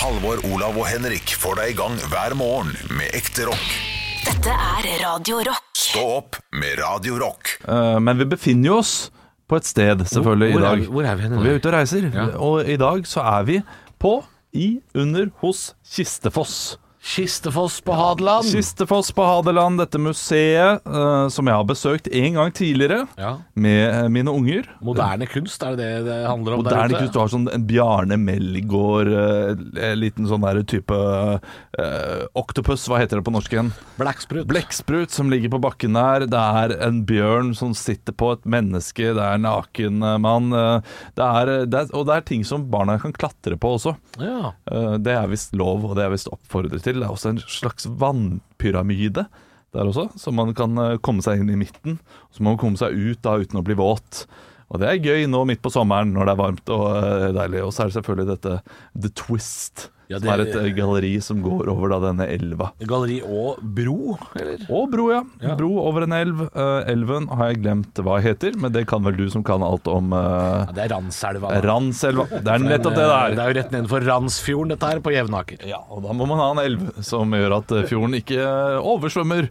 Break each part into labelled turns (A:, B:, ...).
A: Halvor, Olav og Henrik får deg i gang hver morgen med ekte rock.
B: Dette er Radio Rock.
A: Stå opp med Radio Rock.
C: Eh, men vi befinner jo oss på et sted, selvfølgelig,
D: Hvor-
C: i
D: hvor er
C: dag.
D: vi- hvor er vi hen i
C: For vi er
D: dag?
C: ute og reiser.
D: Ja.
C: Og i dag så er vi på, i, under, hos Kistefoss.
D: Kistefoss på Hadeland.
C: Kistefoss på Hadeland, dette museet eh, som jeg har besøkt en gang tidligere
D: Ja.
C: med eh, mine unger.
D: Moderne kunst, er det det det handler om?
C: Moderne
D: der ute?
C: kunst. Du har sånn en Bjarne Melgaard, eh, en liten sånn der type eh, Octopus, hva heter det på norsk igjen?
D: Blekksprut.
C: Blekksprut som ligger på bakken der. Det er en bjørn som sitter på et menneske. Det er en naken eh, mann. eh, Det er, eh, det er, og det er ting som barna kan klatre på også.
D: Ja.
C: Eh, Det er visst lov, og det er visst oppfordret til. Det er også en slags vannpyramide der også, så man kan eh, komme seg inn i midten. Så må man komme seg ut da uten å bli våt. Og det er gøy nå midt på sommeren når det er varmt og eh, deilig. Og så er det selvfølgelig dette The Twist,
D: Ja,
C: som er et
D: det-
C: eh, galleri som går over da denne elva.
D: Galleri og bro, eller?
C: Og bro, ja.
D: Ja.
C: Bro over en elv. Eh, elven har jeg glemt hva heter, men det kan vel du som kan alt om eh,
D: Ja, det er Randselva. da.
C: Randselva. Det er nettopp det
D: Eh,
C: der.
D: Det er jo rett nedenfor Randsfjorden, dette her, på Jevnaker.
C: Ja, og da må man ha en elv som gjør at eh, fjorden ikke eh, oversvømmer.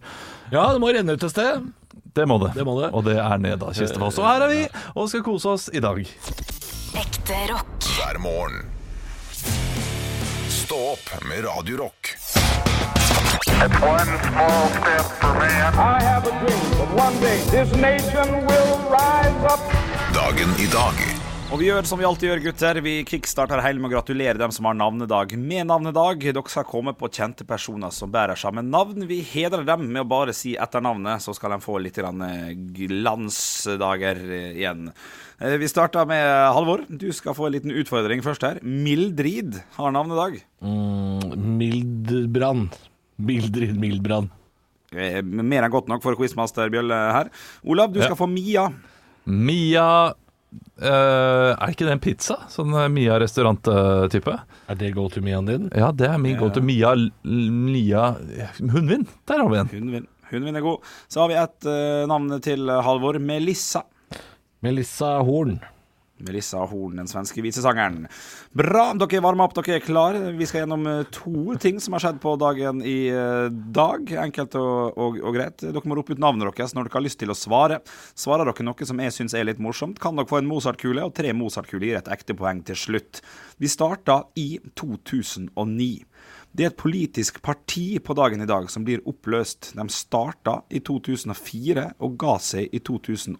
D: Ja, det må renne ut et sted.
C: Det må det.
D: Det må det.
C: Og det er ned av Kistefoss. Og her er vi og skal kose oss i dag.
B: Ekte rock.
A: Hver morgen. Stå opp med Radio Rock.
E: One small step for man.
F: I have a dream that one day this nation will rise up.
A: Dagen i dag.
G: Og vi gjør som vi alltid gjør, gutter. Vi kickstarter hele med å gratulere dem som har navnedag med navnedag. Dere skal komme på kjente personer som bærer samme navn. Vi hedrer dem med å bare si etternavnet, så skal de få litt grann, eh, glansdager eh, igjen. Eh, Vi starter med Halvor. Du skal få en liten utfordring først her. Mildrid har navnedag.
D: Mildbrann. Mildrid Mildbrann.
G: Eh, Mer enn godt nok for quizmaster Bjølle her. Olav, du
C: Ja.
G: skal få Mia.
C: Mia eh, Er ikke det en pizza? Sånn eh, Mia restaurant-type?
D: Er det go to me-en din?
C: Ja, det er min go to Mia L- Lia Hundvin. Der har vi en.
G: Hun, vin- hun vinner god. Så har vi et eh, navn til eh, Halvor. Melissa.
D: Melissa Horn.
G: Melissa Horn, den svenske visesangeren. Bra, dere er varma opp, dere er klare. Vi skal gjennom eh, to ting som har skjedd på dagen i eh, dag. Enkelt og, og, og greit. Dere må rope ut navnet deres når dere har lyst til å svare. Svarer dere noe som jeg syns er litt morsomt, kan dere få en Mozart-kule, og tre Mozart-kuler gir et ekte poeng til slutt. Vi starta i 2009. Det er et politisk parti på dagen i dag som blir oppløst. De starta i 2004 og ga seg i 2009.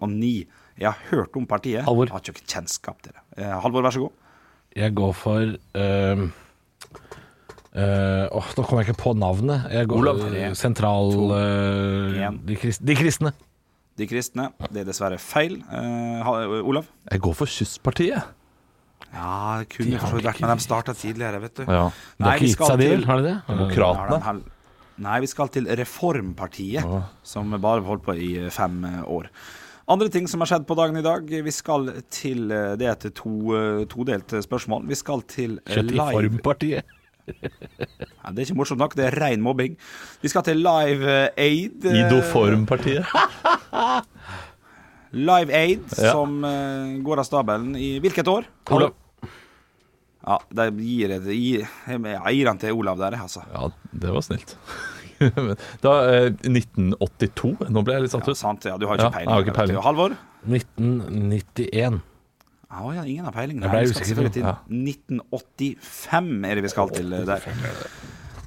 G: Jeg har hørt om partiet.
D: Halvor.
G: Jeg har ikke noe kjennskap til det. Eh, Halvor, vær så god.
D: Jeg går for ehm, eh, Åh, nå kommer jeg ikke på navnet. Jeg går,
G: Olav.
D: eh, Sentral eh,
G: en.
D: de, krist, de kristne.
G: De kristne. Det er dessverre feil. Eh, ha- Olav?
C: Jeg går for Kysspartiet.
G: Ja, det kunne for så vidt vært, men de starta tidligere, vet du.
C: Ja.
D: De har
G: Nei, vi
D: ikke gitt
G: skal
D: seg
G: til
D: til, har de det?
G: Ja, den
C: Demokratene.
G: hel- Nei, vi skal til Reformpartiet, som bare holdt på i eh, fem eh, år. Andre ting som har skjedd på dagen i dag. Vi skal til eh, Det er et to, eh, todelt eh, spørsmål. Vi skal til eh,
D: Kjøtt i
G: live
D: formpartiet.
G: Nei, Det er ikke morsomt nok, det er ren mobbing. Vi skal til Live eh, Aid. eh,
C: Idoformpartiet.
G: Live Aid,
C: Ja.
G: som eh, går av stabelen i hvilket år?
C: Olav.
G: Ja, de gir, et- gir, jeg gir den til Olav der, altså.
C: Ja, det var snilt. da, eh, 1982. Nå ble jeg litt satt
G: Ja,
C: ut.
G: sant, ja, du har
C: Ja,
G: ikke
C: jeg har ikke peiling.
G: peiling. Halvor?
D: 1991.
G: Ah, Å ja, ingen har peiling.
D: Jeg
G: Nei,
D: ble
G: vi skal
D: usikker,
G: selvfølgelig til
C: ja.
G: 1985 er det vi skal til eh, der.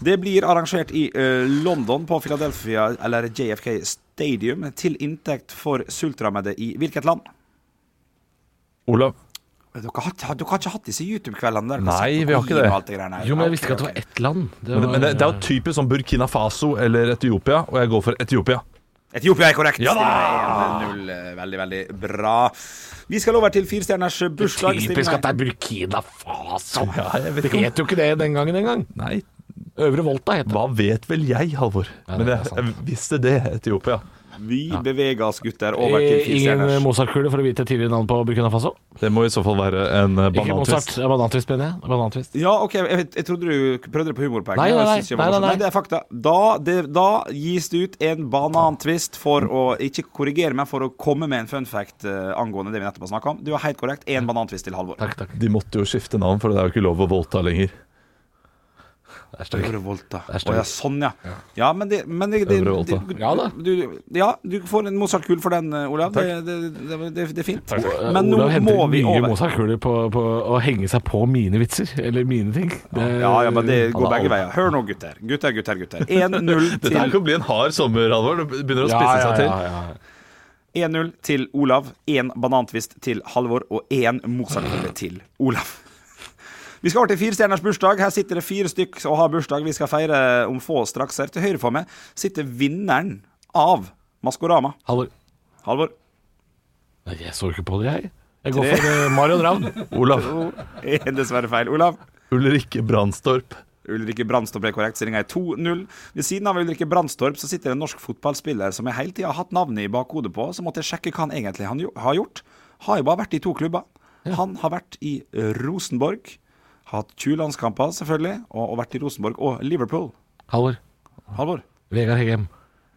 G: Det blir arrangert i eh, London, på Philadelphia eller JFK Stadium, til inntekt for sultrammede i hvilket land? Eh,
C: Olav.
G: Dere har, ikke- dere har ikke hatt disse YouTube-kveldene der?
C: Nei, vi har ikke det.
G: det.
D: Jo, men jeg visste ikke at det var ett land. Det
C: Men,
D: var,
C: men det, det er jo typisk sånn Burkina Faso eller Etiopia, og jeg går for Etiopia.
G: Etiopia er korrekt. Ja da! 1-0. eh, Veldig, veldig bra. Vi skal over til firestjerners bursdag.
D: Typisk
G: Stillingen-
D: at det er Burkina Faso.
C: jeg vet
D: det
C: ikke om-
D: het jo ikke det den gangen engang.
C: Nei,
D: Øvre Volta het det.
C: hva vet vel jeg, Halvor?
D: Ja, det
C: Men
D: er
C: jeg,
D: sant.
C: jeg visste det, Etiopia.
G: Vi beveger oss, gutter, over til
D: Eh, Ingen
G: firestjerners.
D: Mozart-kule for å vite tidligere navn på Burkina Faso.
C: Det må i så fall være en eh,
D: Ikke Mozart,
C: banantvist.
D: det er banantvist, mener jeg. Banantvist.
G: Ja, OK, jeg, vet- jeg trodde du prøvde det på humorpoeng.
D: Nei, nei,
G: Jeg
D: nei.
G: synes jeg var
D: Nei, nei,
G: morsom.
D: nei.
G: nei, det er fakta. Da, det, da gis det ut en banantvist for å ikke korrigere meg, for å komme med en fun fact eh, angående det vi nettopp har snakka om. Du har helt korrekt. Én banantvist til Halvor.
D: Takk, takk.
C: De måtte jo skifte navn, for det er jo ikke lov å voldta lenger.
D: Det er støy.
G: Øvre Volta.
D: er støy.
G: Å ja, sånn, ja. Ja, men det, men det, det
C: Øvre Volta.
G: det-
D: Ja da.
G: Du, ja, du får en Mozart-kul for den, eh, Olav. Det, det, det, det, det er fint.
D: Eh,
G: Men nå
D: Olav henter
G: må vi
D: mye
G: over.
D: Mozart-kuler på, på å henge seg på mine vitser, eller mine eh, ting. Det-
G: Ja, ja, men det
D: Han
G: går
D: er
G: begge
D: alt.
G: veier. Hør nå, gutter. Gutter, gutter, gutter. 1-0
C: Dette her
G: til,
C: kan bli en hard sommer, Halvor. Det begynner å
D: Ja,
C: spisse
D: ja,
C: seg til.
D: ja, ja.
G: 1-0 til Olav, én banantvist til Halvor og én Mozart-kule til Olav. Vi skal over til firestjerners bursdag. Her sitter det fire stykk og har bursdag. Vi skal feire om få straks. Her til høyre for meg sitter vinneren av Maskorama.
D: Halvor.
G: Halvor.
D: Nei, jeg så ikke på det, jeg. Jeg går for eh, Marion Ravn.
C: Olav
G: Er Dessverre feil. Olav.
C: Ulrikke Brandstorp.
G: Ulrikke Brandstorp er korrekt. Stillinga er 2-0. Ved siden av Ulrikke Brandstorp så sitter det en norsk fotballspiller som jeg hele tida har hatt navnet i bakhodet på, så måtte jeg sjekke hva han egentlig han jo, har gjort. Har jo bare vært i to klubber. Han har vært i Rosenborg. Har hatt 20 landskamper, selvfølgelig, og, og vært i Rosenborg og Liverpool.
D: Halvor.
G: Halvor.
D: Vegard Heggem.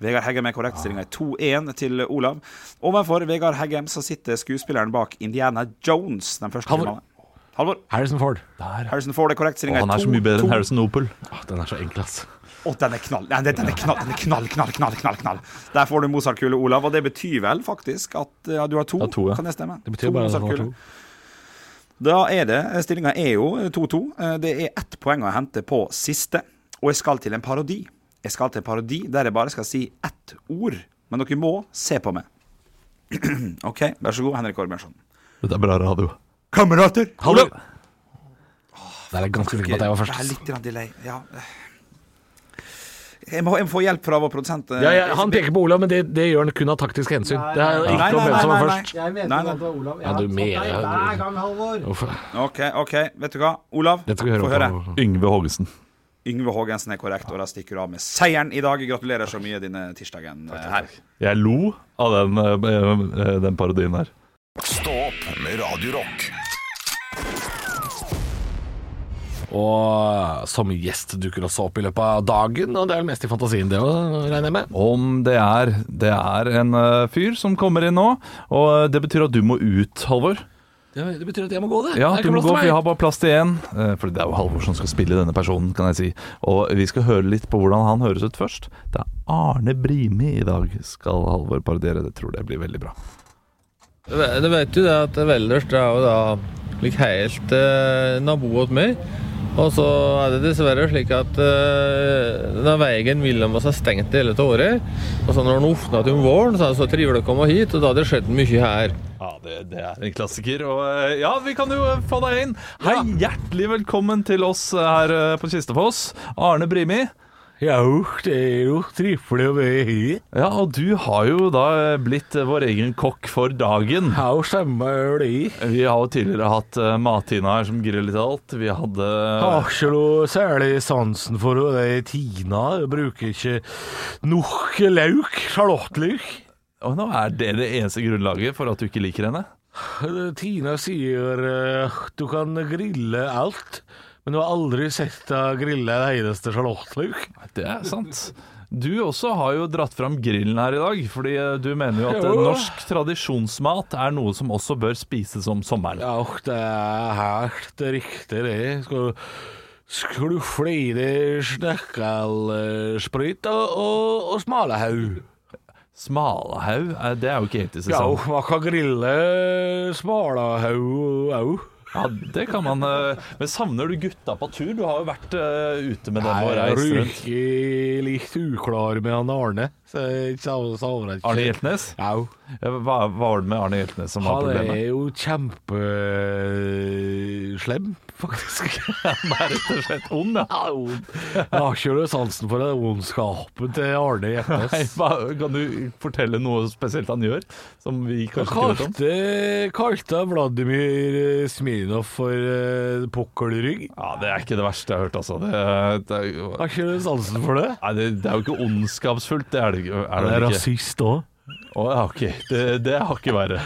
G: Vegard Heggem er korrekt. Stillinga er 2-1 til Olav. Ovenfor Vegard Heggem så sitter skuespilleren bak Indiana Jones, den første
D: Halvor.
G: filmen. Halvor.
D: Harrison Ford.
G: Harrison Ford er korrekt.
C: Og
G: Stillinga
C: han er så mye bedre enn Harrison Opel.
D: Ah, den er så enkel, ass.
G: Å, den er knall. Nei, den er knall, den er knall, knall, knall, knall, knall. Der får du Mozart-kule, Olav. Og det betyr vel faktisk at ja, du har to,
C: Ja, to, ja.
G: kan det stemme?
D: Det betyr bare at han har to.
G: Da er det, eh, stillinga er jo 2-2. Eh, Det er ett poeng å hente på siste. Og jeg skal til en parodi. Jeg skal til en parodi der jeg bare skal si ett ord. Men dere må se på meg. OK, vær så god, Henrik Orbjørnson.
C: Dette er bra radio.
G: Kamerater!
D: Halvor. Der er jeg ganske sikker på at jeg var først.
G: Det er
D: ass.
G: litt grann delay. Ja. Jeg må, jeg må få hjelp fra vår produsent. eh,
D: Ja, ja, han peker på Olav, men det, det gjør han kun av taktisk hensyn. Det er
G: Nei,
D: ikke
G: nei,
D: om
G: nei,
D: hvem som var
G: nei, nei.
D: først.
H: Jeg mente
G: Nei,
H: jo
G: nei.
H: at det var Olav. Jeg
D: Ja,
H: har
D: du
H: tatt
D: mener-
H: deg hver gang, Halvor.
D: Uff,
G: OK, ok, vet du hva? Olav,
D: Dette skal vi høre
G: få høre.
D: om.
C: Yngve Hoggesen.
G: Yngve Haagensen er korrekt, og da stikker du av med seieren i dag. Gratulerer så mye denne tirsdagen eh, her.
C: Jeg lo av den, eh, eh, den parodien her.
A: Stå opp med Radio Rock.
D: Og som gjest dukker også opp i løpet av dagen, og det er vel mest i fantasien det òg, regner jeg med.
C: Om det er Det er en eh, fyr som kommer inn nå, og eh, det betyr at du må ut, Halvor.
D: Det, det betyr at jeg må gå, det.
C: Ja,
D: Det er
C: du
D: ikke
C: må
D: plass
C: gå,
D: til
C: for jeg
D: meg.
C: har bare plass til én. Eh, For det er jo Halvor som skal spille denne personen, kan jeg si. Og vi skal høre litt på hvordan han høres ut først. Det er Arne Brimi i dag, skal Halvor parodiere. Det tror det blir veldig bra.
I: Det ve- det vet jo det at Velders det er jo da like helt eh, nabo åt meg. Og så er det dessverre slik at eh, denne veien mellom oss er stengt hele av året. Og så når den åpner til om våren, så er det så trivelig å komme hit, og da har det skjedd mye her.
C: Ja, det, det er en klassiker. Og eh, ja, vi kan jo eh, få deg inn. Hei, hjertelig velkommen til oss eh, her eh, på Kistefoss. Arne Brimi.
D: Ja, uff, det er jo trivelig å være her.
C: Ja, og du har jo da eh, blitt eh, vår egen kokk for dagen.
D: Ja, og samme er det.
C: Vi har jo tidligere hatt uh, Matina her som griller litt av alt. Vi hadde
D: Har ikke noe særlig sansen for det er Tina. Jeg bruker ikke nok lauk, sjalottløk.
C: eh, Og nå er det det eneste grunnlaget for at du ikke liker henne.
D: Tina sier eh, du kan grille alt, men du har aldri sett deg grille en eneste sjalottløk.
C: Det er sant. Du også har jo dratt fram grillen her i dag, fordi eh, du mener jo at eh,
D: Jo.
C: norsk tradisjonsmat er noe som også bør spises om sommeren.
D: Ja, och det er helt riktig, det. Skal sklufle i deg snekkelsprit og, og, og smalahaug.
C: Smalahaug, eh, det er jo ikke helt i
D: Ja,
C: sesong.
D: man kan grille smalahaug òg.
C: Ja, det kan man. eh, Men savner du gutta på tur? Du har jo vært eh, ute med dem og reist rundt.
D: ryker litt uklar med han Arne, så jeg savner savner ikke
C: Arne Hjeltnes?
D: Au.
C: Ja, Hva hva var det med Arne Hjeltnes som var
D: Han
C: problemet?
D: er jo kjempeslem, faktisk.
C: Han er rett og slett ond, ja.
D: Han er ond. Jeg har ikke noe sansen for den ondskapen til Arne
C: Nei,
D: Hjeltnes.
C: hva, kan du fortelle noe spesielt han gjør, som vi kanskje ikke vet om?
D: Kalte, kalte Vladimir eh, Smirnov for eh, pokkelrygg.
C: Ja, Det er ikke det verste jeg har hørt, altså. Det, det, er, jo-
D: Har ikke du sansen for det?
C: nei, det, det er jo ikke ondskapsfullt, det er det, ikke- er
D: Han
C: det
D: er
C: ikke.
D: rasist òg.
C: Å, ja, ok, det, det har ikke verre.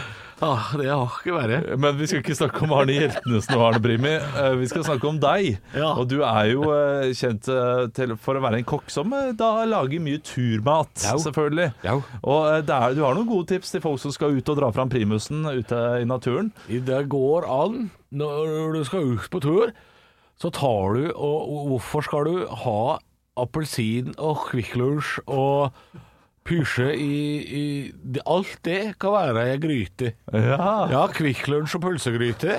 D: Ah, det har ikke verre.
C: Men vi skal ikke snakke om Arne Hjeltnes nå, Arne Brimi. Eh, Vi skal snakke om deg.
D: Ja.
C: Og du er jo eh, kjent eh, til, for å være en kokk som eh, da lager mye turmat,
D: Jo.
C: selvfølgelig.
D: Jo.
C: Og eh, det er, du har noen gode tips til folk som skal ut og dra fram primusen ute i naturen.
D: Det går an når du skal ut på tur. så tar du og og Hvorfor skal du ha appelsin og Kvikk Lunsj og pysje i, i det- Alt det kan være ei gryte.
C: Ja.
D: Ja, Kvikk Lunsj og pølsegryte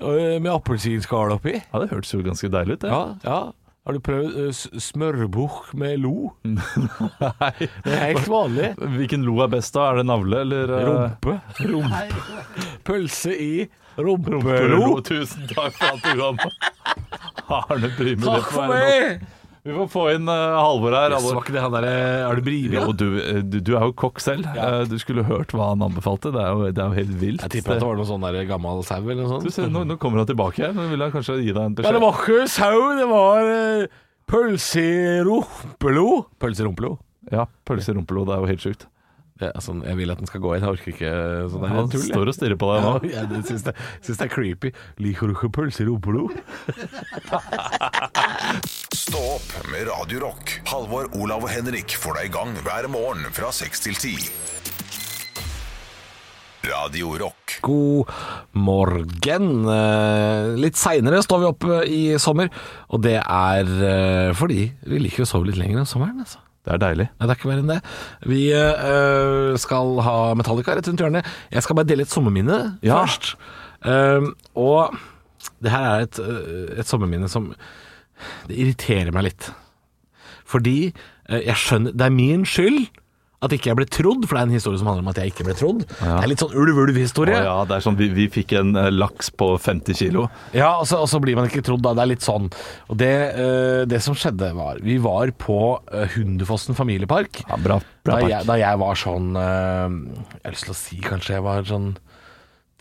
D: øh, med appelsinskall oppi.
C: ja, det hørtes jo ganske deilig ut, det.
D: Ja, ja. Har du prøvd uh, smørbukk med lo? Nei. Det er helt vanlig.
C: Hvilken lo er best, da? Er det navle eller eh,
D: Rumpe. Pølse i rumpelo.
C: Rumpe-lo. Tusen takk for alt du ga meg. Arne Brymer. det
D: Takk
C: får
D: for
C: være nok.
D: meg!
C: Vi får få inn eh, Halvor her.
D: Det
C: Halvor.
D: var ikke det han der Er det Brimi?
C: Jo, du, eh, du, du er jo kokk selv. Eh, Du skulle hørt hva han anbefalte. Det er jo, det er jo helt vilt. Eh,
D: Jeg tipper at det var noe sånn der gammel sau eller noe
C: Du
D: sånt.
C: ser, nå, nå kommer han tilbake her, men vil han kanskje gi deg en
D: Ja,
C: beskjed?
D: det var ikke sau, det var eh, pølse i rumpelo. Pølse i rumpelo?
C: Ja, pølse i rumpelo, det er jo helt sjukt.
D: Det er sånn, jeg vil at den skal gå inn, jeg orker ikke sånn der
C: Han
D: tull, jeg.
C: står og stirrer på deg
D: Ja,
C: nå.
D: jeg det syns det, syns det er creepy. Liker du ikke pølse i rumpelo?
A: Stå opp med Radio Rock. Halvor, Olav og Henrik får deg i gang hver morgen fra 6 til 10. Radio Rock.
D: God morgen. Eh, Litt seinere står vi opp eh, i sommer, og det er eh, fordi vi liker å sove litt lenger enn sommeren. altså.
C: Det er deilig.
D: Nei, det er ikke mer enn det. Vi eh, skal ha Metallica rett rundt hjørnet. Jeg skal bare dele et sommerminne
C: Ja.
D: først. Ehm, og det her er et, eh, et sommerminne som Det irriterer meg litt. Fordi eh, jeg skjønner Det er min skyld at ikke jeg ble trodd, for det er en historie som handler om at jeg ikke ble trodd. Det er litt sånn ulv-ulv-historie.
C: Å ja, det er sånn, vi, vi fikk en eh, laks på 50 kilo.
D: Ja, og så, og så blir man ikke trodd da. Det er litt sånn. Og det, eh, det som skjedde, var Vi var på eh, Hundefossen familiepark.
C: Ja, bra, bra
D: da,
C: park.
D: jeg, da jeg var sånn eh, Jeg har lyst til å si kanskje jeg var sånn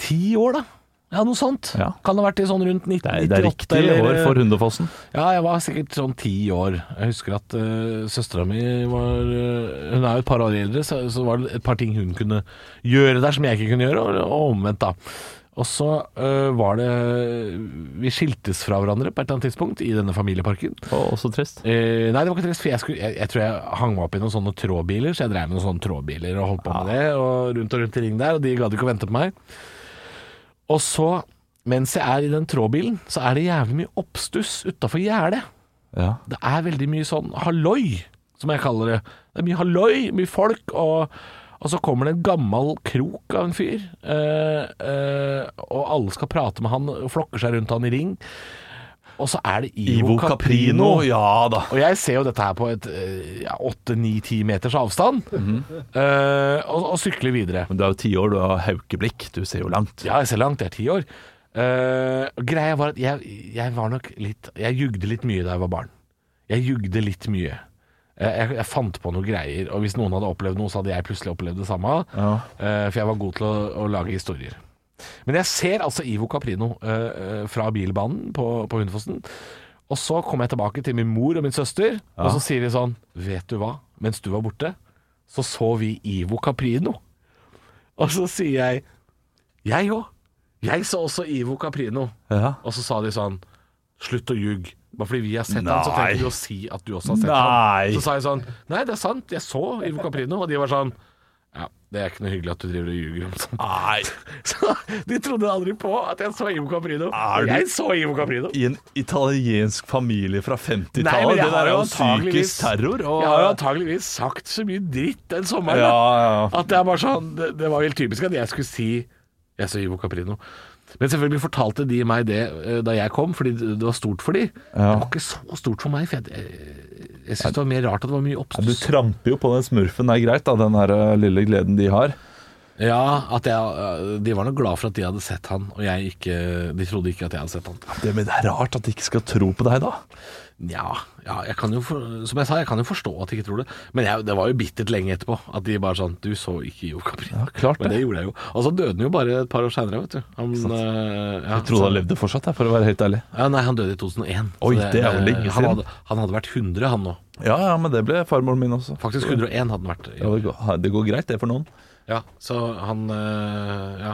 D: ti år, da. Ja, noe sånt.
C: Ja.
D: Kan ha vært i sånn rundt
C: Det er, det er
D: 1998.
C: riktig år for
D: eh,
C: Hundefossen.
D: Ja, jeg var sikkert sånn ti år. Jeg husker at uh, søstera mi var eh, Hun er jo et par år eldre, så, så var det et par ting hun kunne gjøre der som jeg ikke kunne gjøre, og, og omvendt, da. Og så eh, var det Vi skiltes fra hverandre på et eller annet tidspunkt i denne familieparken.
C: Å, også trist.
D: Eh, nei, det var ikke trist, for jeg, skulle, jeg, jeg tror jeg hang meg opp i noen sånne trådbiler, så jeg drev med noen sånne trådbiler og holdt på med det, og rundt og rundt i ring der, og de gadd ikke å vente på meg. Og så, mens jeg er i den trådbilen, så er det jævlig mye oppstuss utafor gjerdet.
C: Ja.
D: Det er veldig mye sånn halloi, som jeg kaller det. Det er mye halloi, mye folk, og, og så kommer det en gammel krok av en fyr, eh, eh, og alle skal prate med han, og flokker seg rundt han i ring. Og så er det Ivo,
C: Ivo Caprino, ja da.
D: og jeg ser jo dette her på et eh, ja, 8-9-10 meters avstand, eh, og, og sykler videre.
C: Men du er jo ti år, du har haukeblikk, du ser jo langt.
D: Ja, jeg ser langt, jeg er ti år. Eh, og greia var at jeg, jeg var nok litt Jeg jugde litt mye da jeg var barn. Jeg jugde litt mye. Jeg, jeg, jeg fant på noen greier, og hvis noen hadde opplevd noe, så hadde jeg plutselig opplevd det samme.
C: Ja.
D: Eh, for jeg var god til å, å lage historier. Men jeg ser altså Ivo Caprino eh, eh, fra bilbanen på, på Hundefossen. Og så kommer jeg tilbake til min mor og min søster, og så sier de sånn Vet du hva? Mens du var borte, så så vi Ivo Caprino. Og så sier jeg Jeg òg. Jeg så også Ivo Caprino.
C: Ja.
D: Og så sa de sånn Slutt å ljuge. Bare fordi vi har sett han, så
C: Nei.
D: trenger du å si at du også har sett
C: Nei.
D: han. Så sa jeg sånn Nei, det er sant. Jeg så Ivo Caprino. Og de var sånn Ja, det er ikke noe hyggelig at du driver og ljuger om sånt.
C: Nei,
D: Så de trodde aldri på at jeg så Ivo Caprino.
C: Er du-
D: Jeg så Ivo Caprino.
C: i en italiensk familie fra
D: Nei,
C: 50-tallet,
D: men
C: det
D: jeg
C: der
D: har
C: er
D: jo
C: jo
D: antageligvis-
C: psykisk terror. Og...
D: Jeg har jo antageligvis sagt så mye dritt den sommeren
C: ja,
D: da,
C: ja, ja.
D: at det er bare sånn Det, det var helt typisk at jeg skulle si Jeg så Ivo Caprino. Men selvfølgelig fortalte de meg det eh, da jeg kom, fordi det det var stort for de. Det var ikke så stort for meg, for jeg, jeg, jeg syntes det var mer rart at det var mye
C: Du
D: oppstuss.
C: tramper jo på den smurfen, det er greit, da, den her eh, lille gleden de har.
D: Ja, at jeg, øh, de var nok glad for at de hadde sett han, og jeg ikke, de trodde ikke at jeg hadde sett han.
C: Det, men det er rart at de ikke skal tro på deg, da.
D: Ja, ja jeg kan jo for, som jeg sa, jeg kan jo forstå at de ikke tror det, men jeg, det var jo bittert lenge etterpå, at de bare sånn, du så ikke Jo Capri. Ja,
C: klart
D: Men
C: det.
D: det gjorde jeg jo. Og så døde han jo bare et par år senere, vet du. Han, øh, ja,
C: Trodde
D: så-
C: han levde fortsatt, jeg, for å være helt ærlig.
D: Ja, nei, han døde i 2001. så
C: Oi, det er jo lenge
D: han
C: siden.
D: hadde, han hadde vært 100, han nå.
C: Ja, ja, men det ble farmoren min også.
D: Faktisk 101 hadde han vært.
C: Ja, det, går, det går greit, det, for noen.
D: Ja, så han øh, Ja.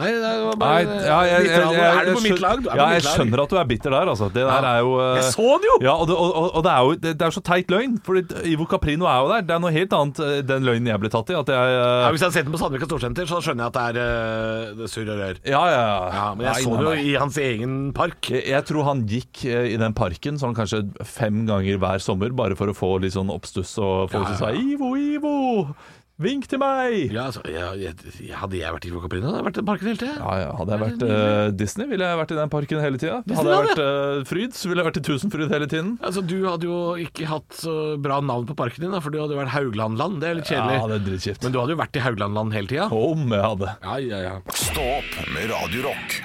D: Nei, eh, det var
C: Nei,
D: bare
C: ja, jeg, jeg,
D: Mitt lag.
C: jeg, jeg,
D: Er du på mitt lag? Du er på
C: ja,
D: mitt
C: jeg
D: lag.
C: skjønner at du er bitter der, altså. Det der er jo eh,
D: Jeg så den jo!
C: Ja, og det, og, og- og det er jo det, det er så teit løgn, for Ivo Caprino er jo der. Det er noe helt annet eh, den løgnen jeg ble tatt i. At jeg
D: Ja,
C: eh,
D: hvis jeg hadde sett den på Sandvika Storsenter, så skjønner jeg at det er uh, surr og rør.
C: Ja, ja,
D: Ja, men jeg
C: Nei,
D: så
C: nei,
D: det
C: nei.
D: jo i hans egen park.
C: Jeg, jeg tror han gikk eh, i den parken sånn kanskje fem ganger hver sommer, bare for å få litt sånn oppstuss og folk som sa 'Ivo, Ivo, vink til meg'.
D: Ja, altså, jeg, jeg, hadde jeg vært i Caprino, hadde jeg vært i parken hele tida.
C: Ja, ja, Hadde jeg vært eh, Disney, ville jeg vært i den parken hele tida. Hadde jeg vært eh, Fryd, så ville jeg vært i Tusenfryd hele tiden.
D: Altså, Du hadde jo ikke hatt så bra navn på parken din, da, for du hadde jo vært Hauglandland. Det er litt kjedelig.
C: Ja, det er dritkjipt.
D: Men du hadde jo vært i Hauglandland hele tida.
C: Om jeg hadde.
D: Ja, ja, ja.
A: Stå opp med Radio Rock.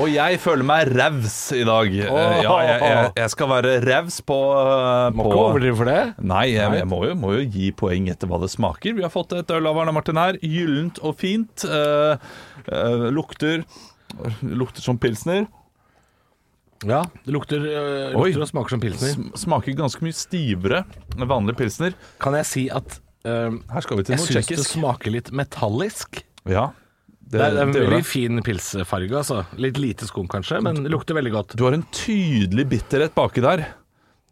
C: Og jeg føler meg revs i dag. Eh, Ja, jeg, jeg, jeg skal være revs på, eh, på
D: for det.
C: Nei, jeg, jeg må, jo, må jo gi poeng etter hva det smaker. Vi har fått et øl av Arne Martin her. Gyllent og fint. Eh, eh, lukter Lukter som pilsner.
D: Ja, Det lukter, øh,
C: Oi.
D: lukter og smaker som pilsner.
C: Sm- Smaker ganske mye stivere enn vanlig pilsner.
D: Kan jeg si at øh,
C: Her skal vi til
D: jeg
C: noe
D: syns det
C: tsjekkisk.
D: smaker litt metallisk.
C: Ja, det,
D: Det er, det er en
C: det gjør
D: veldig
C: det.
D: fin pilsfarge, altså. Litt lite skum kanskje, men det lukter veldig godt.
C: Du har en tydelig bitterhet baki der.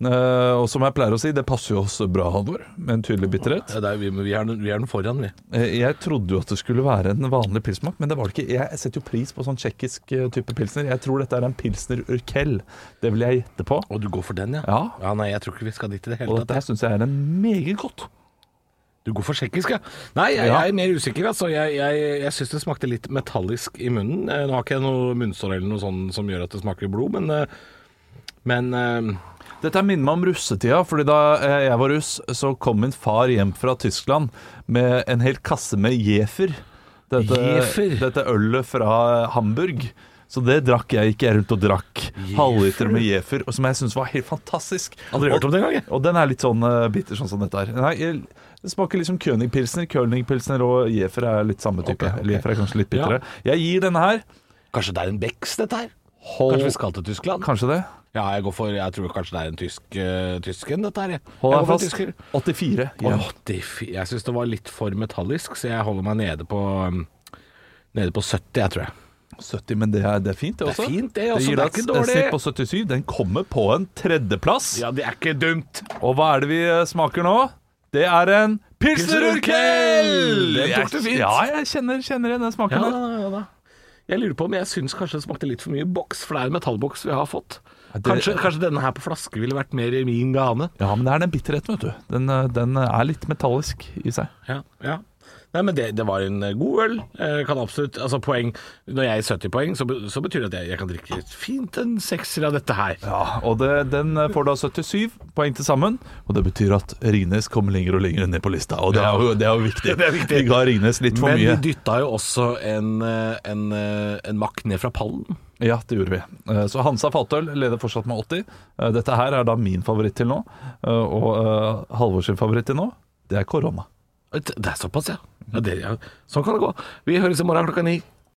C: Eh, og som jeg pleier å si, det passer jo oss bra, Halvor, med en tydelig bitterhet.
D: Ja, det er, Eh, vi, vi, er, den- vi er den foran, vi.
C: Eh, Jeg trodde jo at det skulle være en vanlig pilsmak, men det var det ikke. Jeg setter jo pris på sånn tsjekkisk eh, type pilsner. Jeg tror dette er en pilsner urkel. Det vil jeg gjette på.
D: Og du går for den, ja?
C: Ja.
D: Nei, jeg tror ikke vi skal dit i det
C: Og
D: hele
C: dette
D: tatt.
C: her syns jeg er en meget godt.
D: Du går for tsjekkisk, ja? Nei, jeg,
C: Ja.
D: jeg er mer usikker, altså. Jeg, jeg, jeg syns det smakte litt metallisk i munnen. Eh, Nå har ikke jeg noe munnsår eller noe sånt som gjør at det smaker blod, men eh, men eh,
C: Dette her minner meg om russetida, fordi da eh, jeg var russ, så kom min far hjem fra Tyskland med en hel kasse med Jefer. Dette,
D: Jefer?
C: dette ølet fra Hamburg. Så det drakk jeg ikke. Jeg rundt og drakk halvliter med Jefer, og som jeg syns var helt fantastisk.
D: Aldri hørt om det engang, jeg.
C: Og den er litt sånn eh, bitter, sånn som dette her. Nei, jeg- det smaker liksom Königpilsner. Königpilsner og Jefer er litt samme type.
D: Ok, ok.
C: Jefer er kanskje litt bitrere. Jeg gir denne her
D: Kanskje det er en Becks, dette her?
C: Hold-
D: Kanskje vi skal til Tyskland?
C: Kanskje det?
D: Ja, jeg går for Jeg tror kanskje det er en tysk, eh, tysk en, dette her, jeg.
C: Hold
D: jeg
C: deg
D: går for en
C: fast.
D: tysker.
C: 84. Ja.
D: Åh, det, er fi- jeg syns det var litt for metallisk, så jeg holder meg nede på um, Nede på 70, jeg tror jeg.
C: 70, men det er, det er fint, det
D: Det er
C: også.
D: fint, det også.
C: gir
D: Det er
C: deg
D: ikke
C: et
D: dårlig.
C: snitt på 77. Den kommer på en tredjeplass.
D: Ja, det er ikke dumt.
C: Og hva er det vi eh, smaker nå? Det er en Pilsner
D: Pilsner Urkel!
C: Urkel!
D: Den tok du
C: Jeg-
D: fint.
C: Ja, jeg kjenner, kjenner igjen den
D: Ja,
C: smaken.
D: da,
C: der.
D: ja, da. Jeg lurer på om jeg syns kanskje det smakte litt for mye boks, for det er en metallboks vi har fått.
C: det-
D: Kanskje, kanskje denne her på flaske ville vært mer i min gane.
C: ja, men det er den bitterheten, vet du. Den, eh, den er litt metallisk i seg.
D: Ja, ja. Nei, men det, det var en god øl. Eh, Kan absolutt, altså poeng Når jeg er 70 poeng, så, be- så betyr det at jeg, jeg kan drikke fint en sekser av dette her.
C: Ja, og det, den eh, får da 77 poeng til sammen. Og det betyr at Ringnes kommer lenger og lenger ned på lista, og det er jo, det er jo viktig.
D: Det er viktig.
C: Vi ga Ringnes litt for
D: Men
C: mye.
D: vi dytta jo også en, eh, en, eh, en makk ned fra pallen.
C: Ja, det gjorde vi. Eh, Så Hansa Fatøl leder fortsatt med 80. Eh, Dette her er da min favoritt til nå. Eh, Og eh, Halvor sin favoritt til nå, det er korona.
D: Det er såpass, ja. ja, det, ja. Sånn kan det gå. Vi høres i morgen klokka ni.